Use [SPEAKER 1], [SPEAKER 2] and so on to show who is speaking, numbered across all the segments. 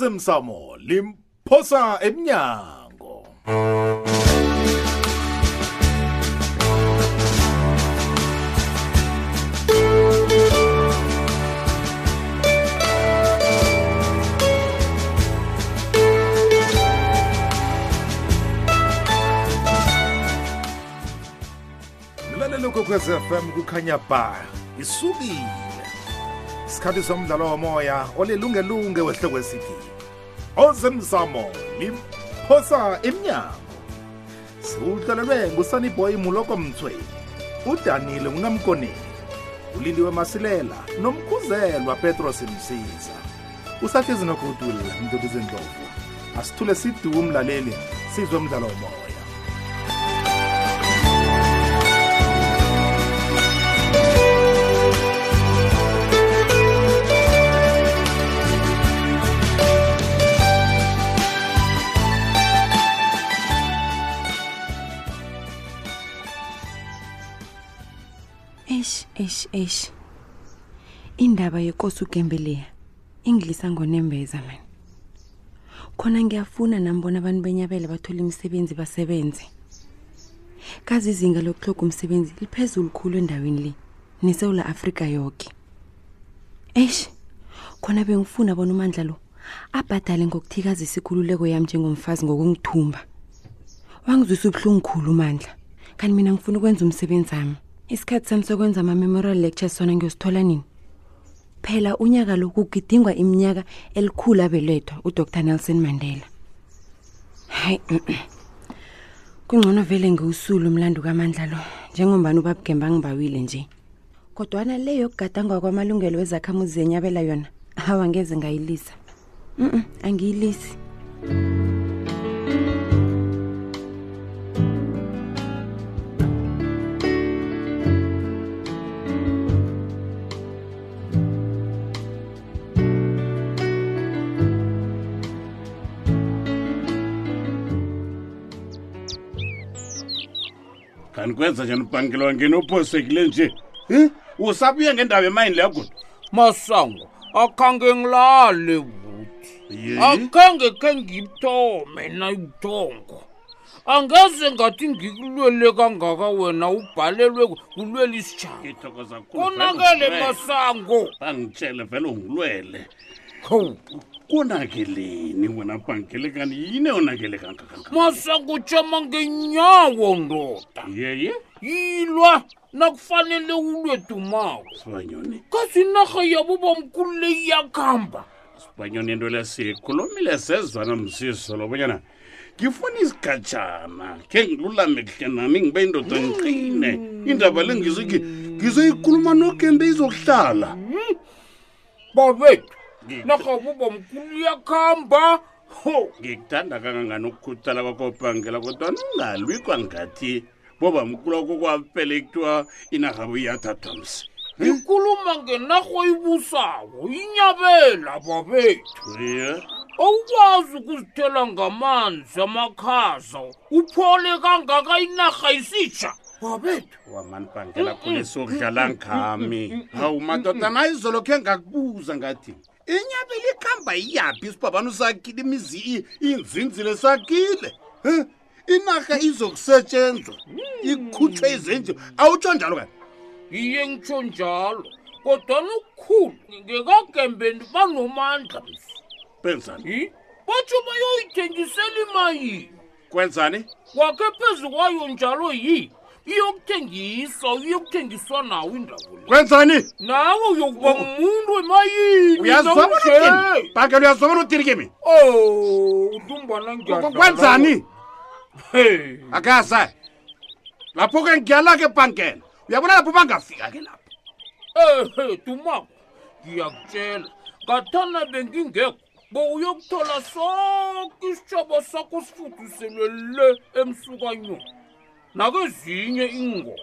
[SPEAKER 1] ozemsamo limphosa emnyango mlalelo kwekwez fm kukhanya ba isukile isikhathi somdlalo womoya olilungelunge wehloko esithi ozemzamo limphosa emnyango siwuhlelelwe ngusaniboy muloko mthweni udanile ngunamkoneni ulindiwe masilela nomkhuzelwa petros msiza usahlezi nogodula mntukuzinhlovu asithule siduke umlaleli sizwe umdlalo womoya
[SPEAKER 2] eish eish eish indaba yekosi ugembeleya ingilisa ngonembeza mani khona ngiyafuna nami bona abantu benyabele bathole imisebenzi basebenze kazi izinga lokuhloga umsebenzi liphezulu khulu endaweni le nesewula afrika yoke eish khona bengifuna bona umandla lo abhadale ngokuthikazisa ikhululeko yami njengomfazi ngokungithumba wangizwisa ubuhlungu khulu mandla kanti mina ngifuna ukwenza umsebenzi wami isikhathi sami sokwenza ama-memorial lecture sona ngiyosithola nini phela unyaka lo kugidingwa iminyaka elikhulu abelethwa udr nelson mandela hayi kungcono vele ngiwusule umlando kamandla lo njengombani ubabugemba ngibawile nje kodwana le yokugadangwa kwamalungelo ezakhamuzi zenyabela yona hawa ngeze ngayilisa mm -mm, angiyilisi
[SPEAKER 3] kanti kwenza njani ubhankela wangeni ophosekile nje Eh? usabuye ngendaba emayini leyo kodwa
[SPEAKER 4] masango akhange ngilale buthi akhange khe ngithome nayithongo angeze ngathi ngikulwele kangaka wena ubhalelwe kulwela isitshaba
[SPEAKER 3] ngithokoza kakhulu,
[SPEAKER 4] konakele
[SPEAKER 3] vele ungilwele.
[SPEAKER 4] masango
[SPEAKER 3] bangitshele vele ungilwele
[SPEAKER 4] Hawu,
[SPEAKER 3] konakeleni wena bhankele kanti yini onakele kangakanga
[SPEAKER 4] masango ujama ngenyawo ndoda
[SPEAKER 3] yeye
[SPEAKER 4] yilwa nakufanele ulwe dumako
[SPEAKER 3] sibanyoni
[SPEAKER 4] kazinarha yabo bamkhulu le iyakuhamba
[SPEAKER 3] sibanyoni into le sikhulumile sezwana msiso lobonyana ngifuna isigatshana khe ngilulame kuhle nami ngibe indoda ngiqine indaba le ngizoki ngizoyikhuluma nogembe izokuhlala
[SPEAKER 4] babethu narha yabo bamkhulu iyakuhamba ho
[SPEAKER 3] ngikuthanda kangangani ukukhuthala kwakobhangela kodwa ningalwi kwangathi boba mkulu kokwapele kuthiwa inarhabo iyathathwa msi
[SPEAKER 4] ikhuluma ngenarho ibusawo inyabela babethu
[SPEAKER 3] iye
[SPEAKER 4] awukwazi ukuzithela ngamanzi amakhaza uphole kangaka inarha isitsha babethu
[SPEAKER 3] wamani bhangela kulisokudlala ngami hawu madoda naye izolo khe ngakubuza ngathi inyabela ikhamba iyaphi isibhabani usakile imizi i- inzinzile sakile Eh? inarha izokusetshenzwa ikhutshwe izenje awutsho njalo kani
[SPEAKER 4] iye ngitsho njalo kodwana ukukhulu ngekagembeni banomandla msi.
[SPEAKER 3] benzani
[SPEAKER 4] Hi? batsho bayoyithengisela imayini
[SPEAKER 3] kwenzani
[SPEAKER 4] wakhe phezu kwayo njalo yi iyokuthengiswa uyokuthengiswa nawo indawo le
[SPEAKER 3] kwenzani Oh.
[SPEAKER 4] nawe uyokuba ngumuntu emayini namhlanje.
[SPEAKER 3] uyazobona bhangela uyazobona uthini kimi
[SPEAKER 4] Oh, udumbana
[SPEAKER 3] Kw- kwenzani akaza lapho ke ngiyala ke bhangela uyabona lapho bangafika ke lapho
[SPEAKER 4] Ehe, dumako. Ngiyakutshela. Ngathana bengingekho. Bowuyokuthola sonke isitshaba sakho sifuduselwe le emsukanyweni. Nakezinye ingoma.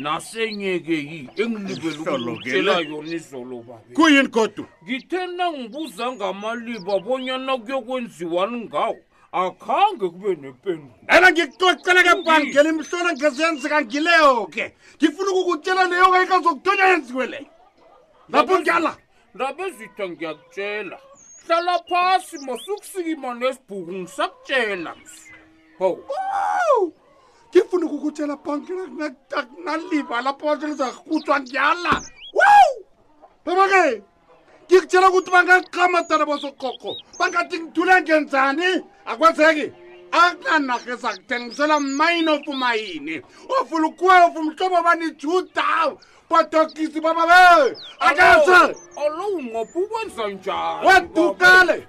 [SPEAKER 4] Nasenyeke yi engilibele
[SPEAKER 3] Ihlolokele.
[SPEAKER 4] ukutshela yona izolo babe.
[SPEAKER 3] kuyini godu
[SPEAKER 4] Ngithe nangibuza ngamaliba bonyana kuyokwenziwani ngawo. Akhange kube nempendulo.
[SPEAKER 3] ena ngikuxoxela ke bhangela imhlola ngezenzeka ngileyo ke ngifuna ukukutshela leyo ke ikazokuthonya yenziwe leyo lapho ngiyala
[SPEAKER 4] Ndabezitha ngiyakutshela. hlala phasi masukusikima nesibhuku ngisakutshela msi hawu
[SPEAKER 3] ngifuna ukukutshela bhanki akunaliva lapho abantu lizakutswa ngiyala wow babake ngikutshela ukuthi bangaqiqamatana bosoqoqo bangathi ngidule ngenzani akwenzeki akunanarha ezakuthengisela mine ofumayini ofuna ukwefu mhlobo banijuda badokisi bababe akase
[SPEAKER 4] alo unqopha ukwenza njani
[SPEAKER 3] wedukale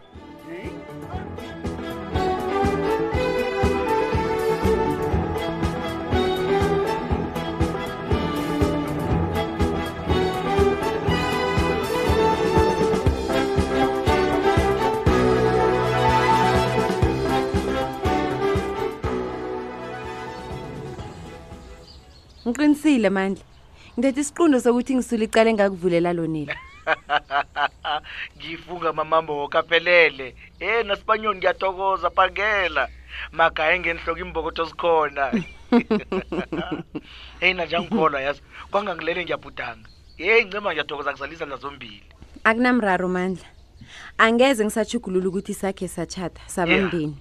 [SPEAKER 2] ngiqinisile mandla ngithetha isiqundo sokuthi ngisule icala engakuvulela lonile
[SPEAKER 5] ngifunga mamambo wokaphelele e nasibanyoni ngiyatokoza phangela magaye ngenhloko imbokoto zikhona eyi nanje angikholwa yazi kwangangilele ngiyabhudanga yeyi ncema ngiyatokoza ngizalisa nazombili
[SPEAKER 2] akunamraro mandla angeze ngisajugulula ukuthi sakhe satshata sabamndeni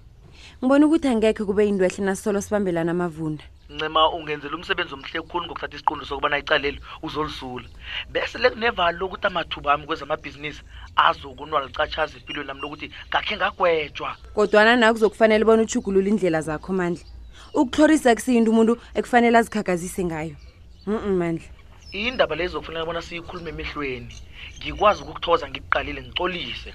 [SPEAKER 2] ngibona ukuthi angekhe kube yinto ehle nasisolo sibambelana amavunda
[SPEAKER 5] ncema ungenzela umsebenzi omhle khulu ngokuthatha isiqundo sokubana icaleli uzolisula bese lekunevalo lokuthi amathuba ami kwezamabhizinisi azokunwa licatshaza empilweni lami lokuthi ngakhe ngagwetshwa
[SPEAKER 2] kodwana nawe kuzokufanele bona utshugulula indlela zakho mandla ukutlhorisa kusiyinto umuntu ekufanele azikhagazise ngayo mm mandla
[SPEAKER 5] indaba leyo izokufanele bona siyikhulume emehlweni ngikwazi ukukuthokoza ngikuqalile ngicolise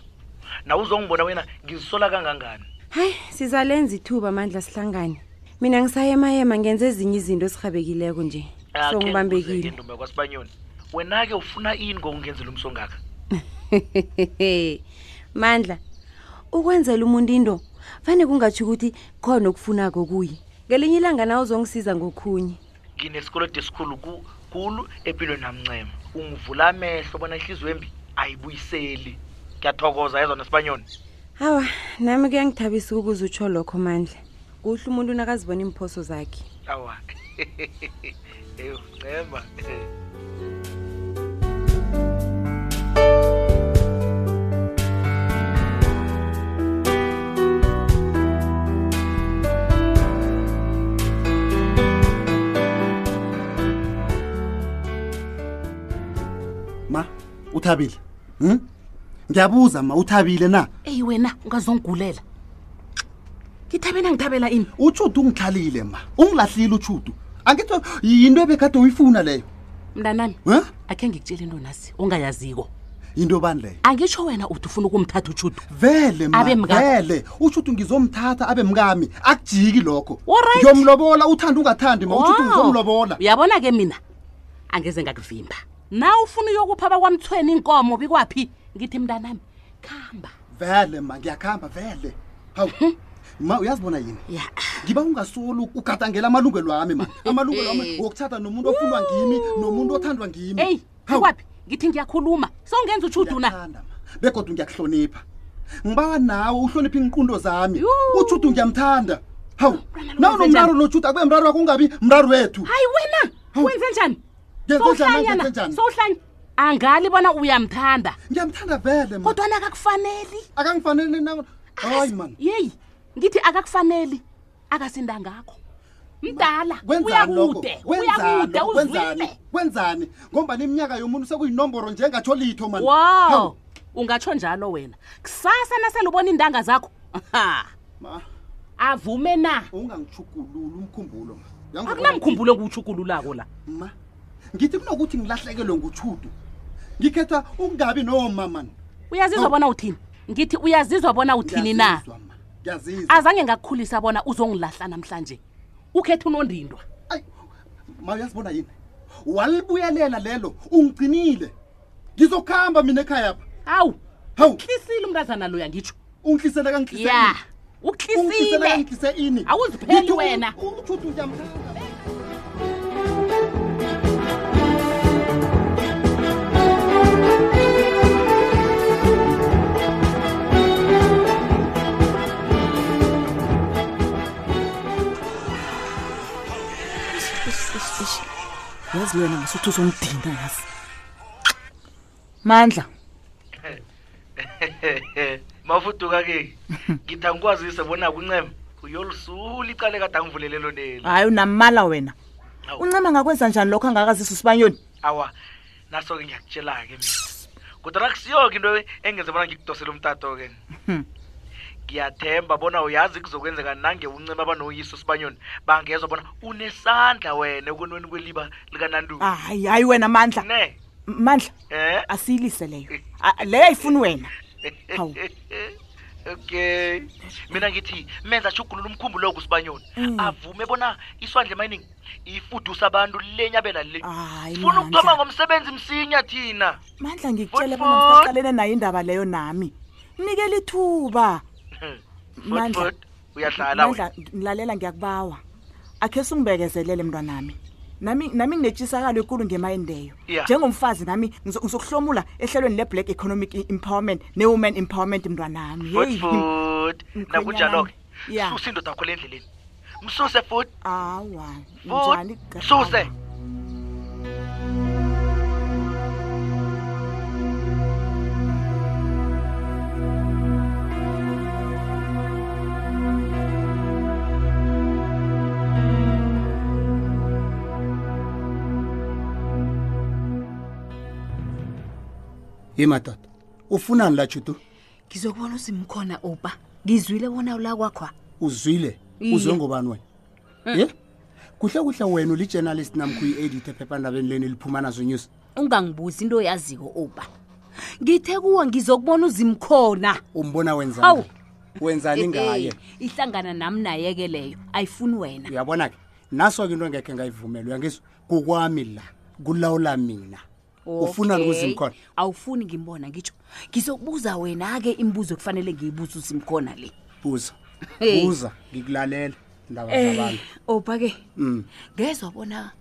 [SPEAKER 5] nawe uzongibona wena ngizisola kangangani
[SPEAKER 2] hayi sizalenza ithuba mandla sihlangane mina ngisayema-yema ngenze ezinye izinto ezirhabekileko nje
[SPEAKER 5] Akhe ngikuzeke,
[SPEAKER 2] songibambekile
[SPEAKER 5] ntombi yakwasibanyoni wena-ke ufuna ini ngokungenzela umsongaka
[SPEAKER 2] mandla ukwenzela umuntu into fane kungatsho ukuthi khona okufunako kuye ngelinye ilanga nawe uzongisiza ngokhunye
[SPEAKER 5] nginesikolodi esikhulu ku- kulu empilweni namncema ungivula amehlo bona ihliziyo embi ayibuyiseli ngiyathokoza yezwa nesibanyoni
[SPEAKER 2] hawa nami kuyangithabisa ukukuze utsho lokho mandla kuhle umuntu nakazibona iimphoso zakhe
[SPEAKER 5] awa eyo ncema
[SPEAKER 6] ma uthabile hm? ngiyabuza ma uthabile na
[SPEAKER 7] eyi wena ungazongigulela ngithabeni angithabela ini
[SPEAKER 6] utshudu ungihlalile ma ungilahlile utshudu angitho yinto ebekade uyifuna leyo
[SPEAKER 7] mntanami
[SPEAKER 6] Eh?
[SPEAKER 7] akhe ngikutshela into nasi ongayaziko
[SPEAKER 6] yinto bani leyo
[SPEAKER 7] angitsho wena uthi ufuna ukumthatha utshudu
[SPEAKER 6] vele ma,
[SPEAKER 7] Abe mkakho.
[SPEAKER 6] vele utshudu ngizomthatha abe mkami akujiki lokho
[SPEAKER 7] Alright.
[SPEAKER 6] ngiyomlobola uthanda ungathandi ma utshudu
[SPEAKER 7] Wow.
[SPEAKER 6] ngizomlobola
[SPEAKER 7] uyabona ke Oh. mina angeze ngakuvimba na ufuna uyokupha bakwamthweni inkomo bikwaphi ngithi mntanami
[SPEAKER 6] Mm.
[SPEAKER 7] khamba
[SPEAKER 6] vele ma ngiyakhamba vele hawu ma uyazibona yini
[SPEAKER 7] ya
[SPEAKER 6] ngiba ungasolo ugadangela amalungelo ami ma amalungelo ami wokuthatha nomuntu ofunwa ngimi nomuntu othandwa ngimi
[SPEAKER 7] eyi
[SPEAKER 6] Hawu.
[SPEAKER 7] bikwaphi ngithi ngiyakhuluma sowungenza utshudu na
[SPEAKER 6] Ngiyakuthanda, ma. begodwa ngiyakuhlonipha ngibawa nawe uhloniphe iinqundo zami
[SPEAKER 7] Yuu.
[SPEAKER 6] ujuda ngiyamthanda hawu
[SPEAKER 7] Mntwana lo
[SPEAKER 6] nawe
[SPEAKER 7] wenze
[SPEAKER 6] nomraro
[SPEAKER 7] njani?
[SPEAKER 6] nojuda akube mraro wakho ungabi mraro wethu
[SPEAKER 7] hayi wena
[SPEAKER 6] Hawu.
[SPEAKER 7] wenze njani
[SPEAKER 6] Ngenze njani,
[SPEAKER 7] Sowuhlanya na?
[SPEAKER 6] ngenze njani?
[SPEAKER 7] Sowuhlanya. angali bona uyamthanda
[SPEAKER 6] ngiyamthanda vele ma
[SPEAKER 7] kodwana akakufaneli
[SPEAKER 6] akangifanele na hayi man
[SPEAKER 7] yeyi ngithi akakufaneli akasinda ngakho mdala
[SPEAKER 6] kwenzani lokho
[SPEAKER 7] uyakude
[SPEAKER 6] kwenzani
[SPEAKER 7] uyakude
[SPEAKER 6] lokho?
[SPEAKER 7] uzwile
[SPEAKER 6] kwenzani kwenzani ngombani iminyaka yomuntu sekuyinomboro njengatsho litho mani
[SPEAKER 7] wo ungatsho njalo wena kusasa nasele ubona iindanga zakho aha,
[SPEAKER 6] ma
[SPEAKER 7] avume na
[SPEAKER 6] ungangichukululi umkhumbulo ma Uyangizwa bona?
[SPEAKER 7] akunamkhumbulo ekuwutshukululako la
[SPEAKER 6] ma ngithi kunokuthi ngilahlekelwe ngutshudu ngikhetha ukungabi noma mani Oh.
[SPEAKER 7] uyazizwa bona uthini ngithi uyazizwa bona uthini na
[SPEAKER 6] Ngiyazizwa, ma. ngiyazizwa
[SPEAKER 7] azange ngakukhulisa bona uzongilahla namhlanje ukhetha unondindwa
[SPEAKER 6] ayi ma uyazibona yini walibuyelela lelo ungigcinile ngizokuhamba mina ekhaya pha
[SPEAKER 7] hawu
[SPEAKER 6] hawu
[SPEAKER 7] hlisile umntazana loya ngitsho
[SPEAKER 6] ungihlisele kangihlisele
[SPEAKER 7] ya
[SPEAKER 6] ini? Ungihlisele
[SPEAKER 7] ukuhlisile
[SPEAKER 6] kangihlise ini
[SPEAKER 7] Awuzipheli
[SPEAKER 6] Ngithi u-
[SPEAKER 7] wena.
[SPEAKER 6] u- uJudu ngiyamthanda.
[SPEAKER 8] yazi wena ngasuthi uzongidina yazi mandla
[SPEAKER 5] mafuduka-ke ngithi angikwazise bona kuncema uyolisula icale kade angivulelelo neli
[SPEAKER 8] hayi unamala wena
[SPEAKER 5] Awu.
[SPEAKER 8] uncema ngakwenza njani lokho angakazisa usibanyoni
[SPEAKER 5] awa naso-ke ngiyakutshela-ke mina kodwa nakusiyo-ke into engenza bona ngikudosele umtato-ke
[SPEAKER 8] Hmm.
[SPEAKER 5] ngiyathemba bona uyazi kuzokwenzeka nange uncema abanoyiso sibanyoni bangezwa bona unesandla wena ekonweni kweliba likananduku
[SPEAKER 8] hayi hayi wena mandla
[SPEAKER 5] ne
[SPEAKER 8] M- mandla
[SPEAKER 5] eh
[SPEAKER 8] asiyilise leyo A- leyo ayifuni wena Hawu.
[SPEAKER 5] okay mina ngithi menza ashugulula umkhumbulo kusibanyoni
[SPEAKER 8] Mm.
[SPEAKER 5] avume bona iswandle mining ifudusa abantu lenyabela le
[SPEAKER 8] hayi
[SPEAKER 5] funa ukuthoma
[SPEAKER 8] mandla
[SPEAKER 5] ngomsebenzi msinya thina
[SPEAKER 8] mandla ngikutshele
[SPEAKER 5] Futhi
[SPEAKER 8] bona
[SPEAKER 5] futhi.
[SPEAKER 8] ngisaqalene nayo indaba leyo nami nikela ithuba Mandla.
[SPEAKER 5] Fort, Fort, uyadlala wena
[SPEAKER 8] Mandla, ngilalela ngiyakubawa akhe singibekezelele mntwanami nami nami nginetshisakalo enkulu ngemayendeyo
[SPEAKER 5] Yeah.
[SPEAKER 8] njengomfazi nami ngizo- ngizokuhlomula ehlelweni le-black economic i- empowerment ne-woman empowerment mntwanami
[SPEAKER 5] Fort,
[SPEAKER 8] Hey,
[SPEAKER 5] Fort.
[SPEAKER 8] mkhwenyana.
[SPEAKER 5] nakunjalo-ke
[SPEAKER 8] Yeah.
[SPEAKER 5] susa indoda kho le endleleni msuse futhi
[SPEAKER 8] awa njani
[SPEAKER 5] futhi
[SPEAKER 8] ga-
[SPEAKER 5] suse
[SPEAKER 6] ye madoda ufunani la judu
[SPEAKER 9] ngizokubona usimkhona opa ngizwile bona ula kwakhwa
[SPEAKER 6] uzwile
[SPEAKER 9] Iye. Eh.
[SPEAKER 6] uzwe ngobani wena ye kuhle kuhle wena ulijournalist namkho uyi-edit ephephandabeni leni liphuma nazo news
[SPEAKER 9] ungangibuzi into oyaziko opa ngithe kuwo ngizokubona uzimkhona
[SPEAKER 6] umbona
[SPEAKER 9] Hawu.
[SPEAKER 6] wenzani wenzani ngaye
[SPEAKER 9] Eh, eh, ihlangana nami naye-ke leyo ayifuni wena
[SPEAKER 6] uyabona ke naso-ke into engekhe ngayivumela uyangizwa kukwami la kulawula mina ufunani
[SPEAKER 9] Okay.
[SPEAKER 6] kuzimkhona
[SPEAKER 9] awufuni ngimbona ngitsho ngizokubuza wena-ke imibuzo ekufanele ngiyibuze usimkhona le
[SPEAKER 6] buza
[SPEAKER 9] Hey.
[SPEAKER 6] buza ngikulalela ndaba
[SPEAKER 9] Eh,
[SPEAKER 6] zabantu
[SPEAKER 9] opa-ke
[SPEAKER 6] Mm.
[SPEAKER 9] ngezwa bona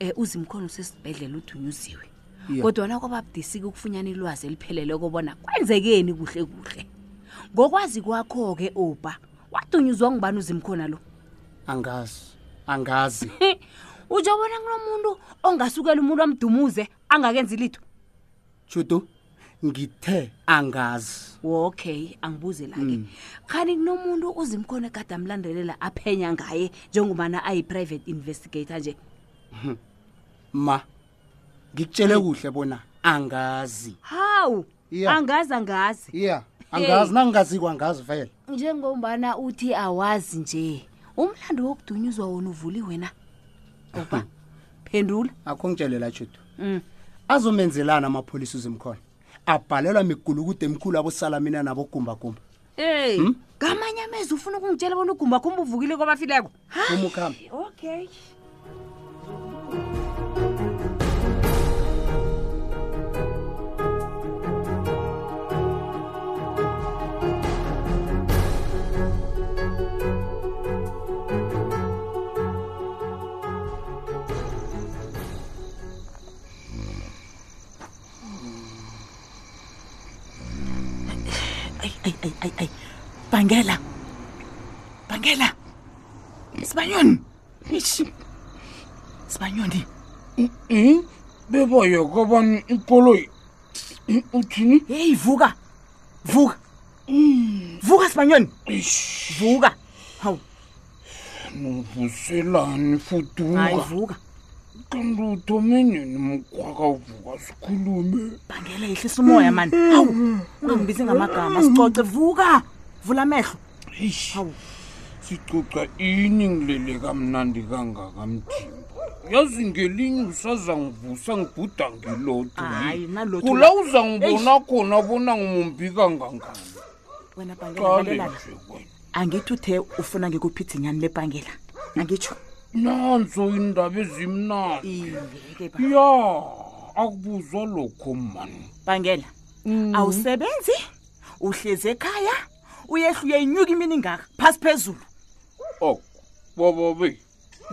[SPEAKER 9] um uzimkhona usesibhedlela udunyuziwe
[SPEAKER 6] Yeah.
[SPEAKER 9] kodwana kwababudisika ukufunyana ilwazi eliphelele kobona kwenzekeni kuhle kuhle ngokwazi kwakho-ke opa wadunyuzwa ngubani uzimkhona lo
[SPEAKER 6] angazi angazi
[SPEAKER 9] utsho bona kunomuntu ongasukela umuntu amdumuze angakenzi litho
[SPEAKER 6] judu ngithe angazi
[SPEAKER 9] okay angibuze la-ke
[SPEAKER 6] Mm.
[SPEAKER 9] khani kunomuntu uzimkhona ekade amlandelela aphenya ngaye njengobana ayi-private investigator nje
[SPEAKER 6] Hmm. ma ngikutshele kuhle bona angazi
[SPEAKER 9] hawu
[SPEAKER 6] Yeah.
[SPEAKER 9] angazi angazi
[SPEAKER 6] iya
[SPEAKER 9] Hey.
[SPEAKER 6] angazi nangingazikwa angazi vele
[SPEAKER 9] njengombana uthi awazi nje umlando wokudunyuzwa wona uvuli wena oba phendula
[SPEAKER 6] Hmm. akho ngitshelela judu
[SPEAKER 9] Mm.
[SPEAKER 6] azomenzelana amapholisa uzimkhona abhalelwa migulukude emkhulu abosala mina nabogumbagumba
[SPEAKER 9] ey ngamanye amezi ufuna ukungitshela bona ugumbagumba uvukile kwabafileko
[SPEAKER 6] uma ukuhamba
[SPEAKER 9] okay
[SPEAKER 8] Ay, ay, ay, ay, ay. bangela bangela sibanyoni ishi sibanyoni
[SPEAKER 4] bebaye kabani ikoloyi uthini
[SPEAKER 8] heyi vuka vuka vuka sibanyoni vuka hawu
[SPEAKER 4] novuselani
[SPEAKER 8] hayi
[SPEAKER 4] fuduka
[SPEAKER 8] vuka
[SPEAKER 4] kanti uthome nini mkwakavuka sikhulume Mm.
[SPEAKER 8] bangela yehlisa umoya mani hawu ungangibizi ngamagama sicoce vuka vula amehlo
[SPEAKER 4] Eish,
[SPEAKER 8] Hawu.
[SPEAKER 4] sicoca ini ngilele kamnandi kangaka mthimba yazi ngelinye usaza ngivusa ngibhuda ngilodwa
[SPEAKER 8] Hayi, nalotho-
[SPEAKER 4] kula uzangibona khona bona ngimumbi kangangani
[SPEAKER 8] wena bangela
[SPEAKER 4] qale
[SPEAKER 8] lalela
[SPEAKER 4] nje kwena
[SPEAKER 8] angithi uthe ufuna ngikuphidzinyani lebhangela angitsho
[SPEAKER 4] nanso iindaba ezimnandi
[SPEAKER 8] iye-ke ba
[SPEAKER 4] ya akubuzwa lokho mani Mm.
[SPEAKER 8] bangela awusebenzi uhlezi ekhaya uyehle uyayinyuka imini ingaka phasi phezulu
[SPEAKER 4] oko bababe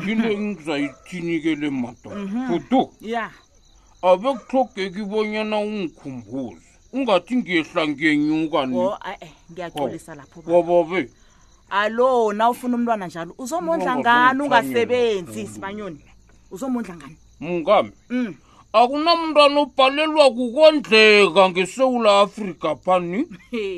[SPEAKER 4] into engizayithini-kele madoda fuduka
[SPEAKER 8] Mhm. ya
[SPEAKER 4] abe kuhlogeki bonyana ungikhumbuze ungathi ngiyehla ngiyenyuka ni
[SPEAKER 9] Oh,
[SPEAKER 8] o ae ngiyaxolisa Oh,
[SPEAKER 4] Oh.
[SPEAKER 8] lapho ba.
[SPEAKER 4] wababe
[SPEAKER 8] alo na ufuna umntwana njalo uzomondla
[SPEAKER 4] Ngoba
[SPEAKER 8] ngani
[SPEAKER 4] kunomthanyelo.
[SPEAKER 8] ungasebenzi sibanyoni uzomondla ngani
[SPEAKER 4] mngami
[SPEAKER 8] Mm.
[SPEAKER 4] akunamntwana obhalelwa kukondleka ngesewula afrika phani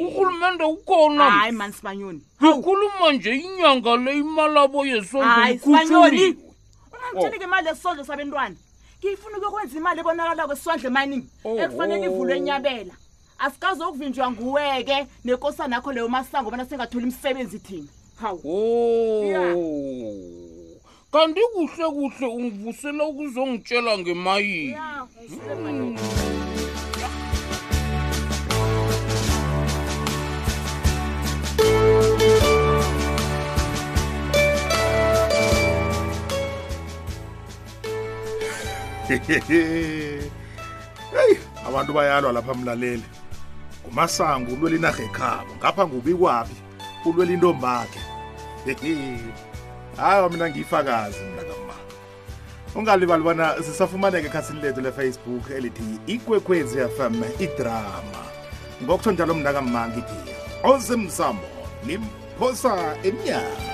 [SPEAKER 4] urhulumente ukhona
[SPEAKER 8] hayi mani sibanyoni
[SPEAKER 4] akhuluma nje inyanga le imalabo yesondlo
[SPEAKER 8] hayi sibanyoni
[SPEAKER 4] ikhutjhuliwe.
[SPEAKER 8] ungangitshelike imali esondlo sabentwana ngiyifuna ukuyokwenza imali ebonakalako esondlo emaningi ekufanele ivulwe enyabela asikazokuvinjwa nguwe ke nenkosana yakho leyo masango ubana singatholi imisebenzi thina hawu Yeah.
[SPEAKER 4] Oh. kanti kuhle kuhle ungivusela ukuzongitshela ngemayini
[SPEAKER 8] Yeah, ngisile
[SPEAKER 4] Mm.
[SPEAKER 1] heyi abantu bayalwa lapha mlaleli ngumasango ulwela inarha ekhabo ngapha ngubikwaphi ulwela intombakhe hayi mina ngiyifakazi mna kama ungalibali bona sisafumaneka ekhasini lethu lefacebook elithi ikwekhwezi fm idrama ngokutsho njalo mna kamma ngithi osemsamo nimphosa emnyango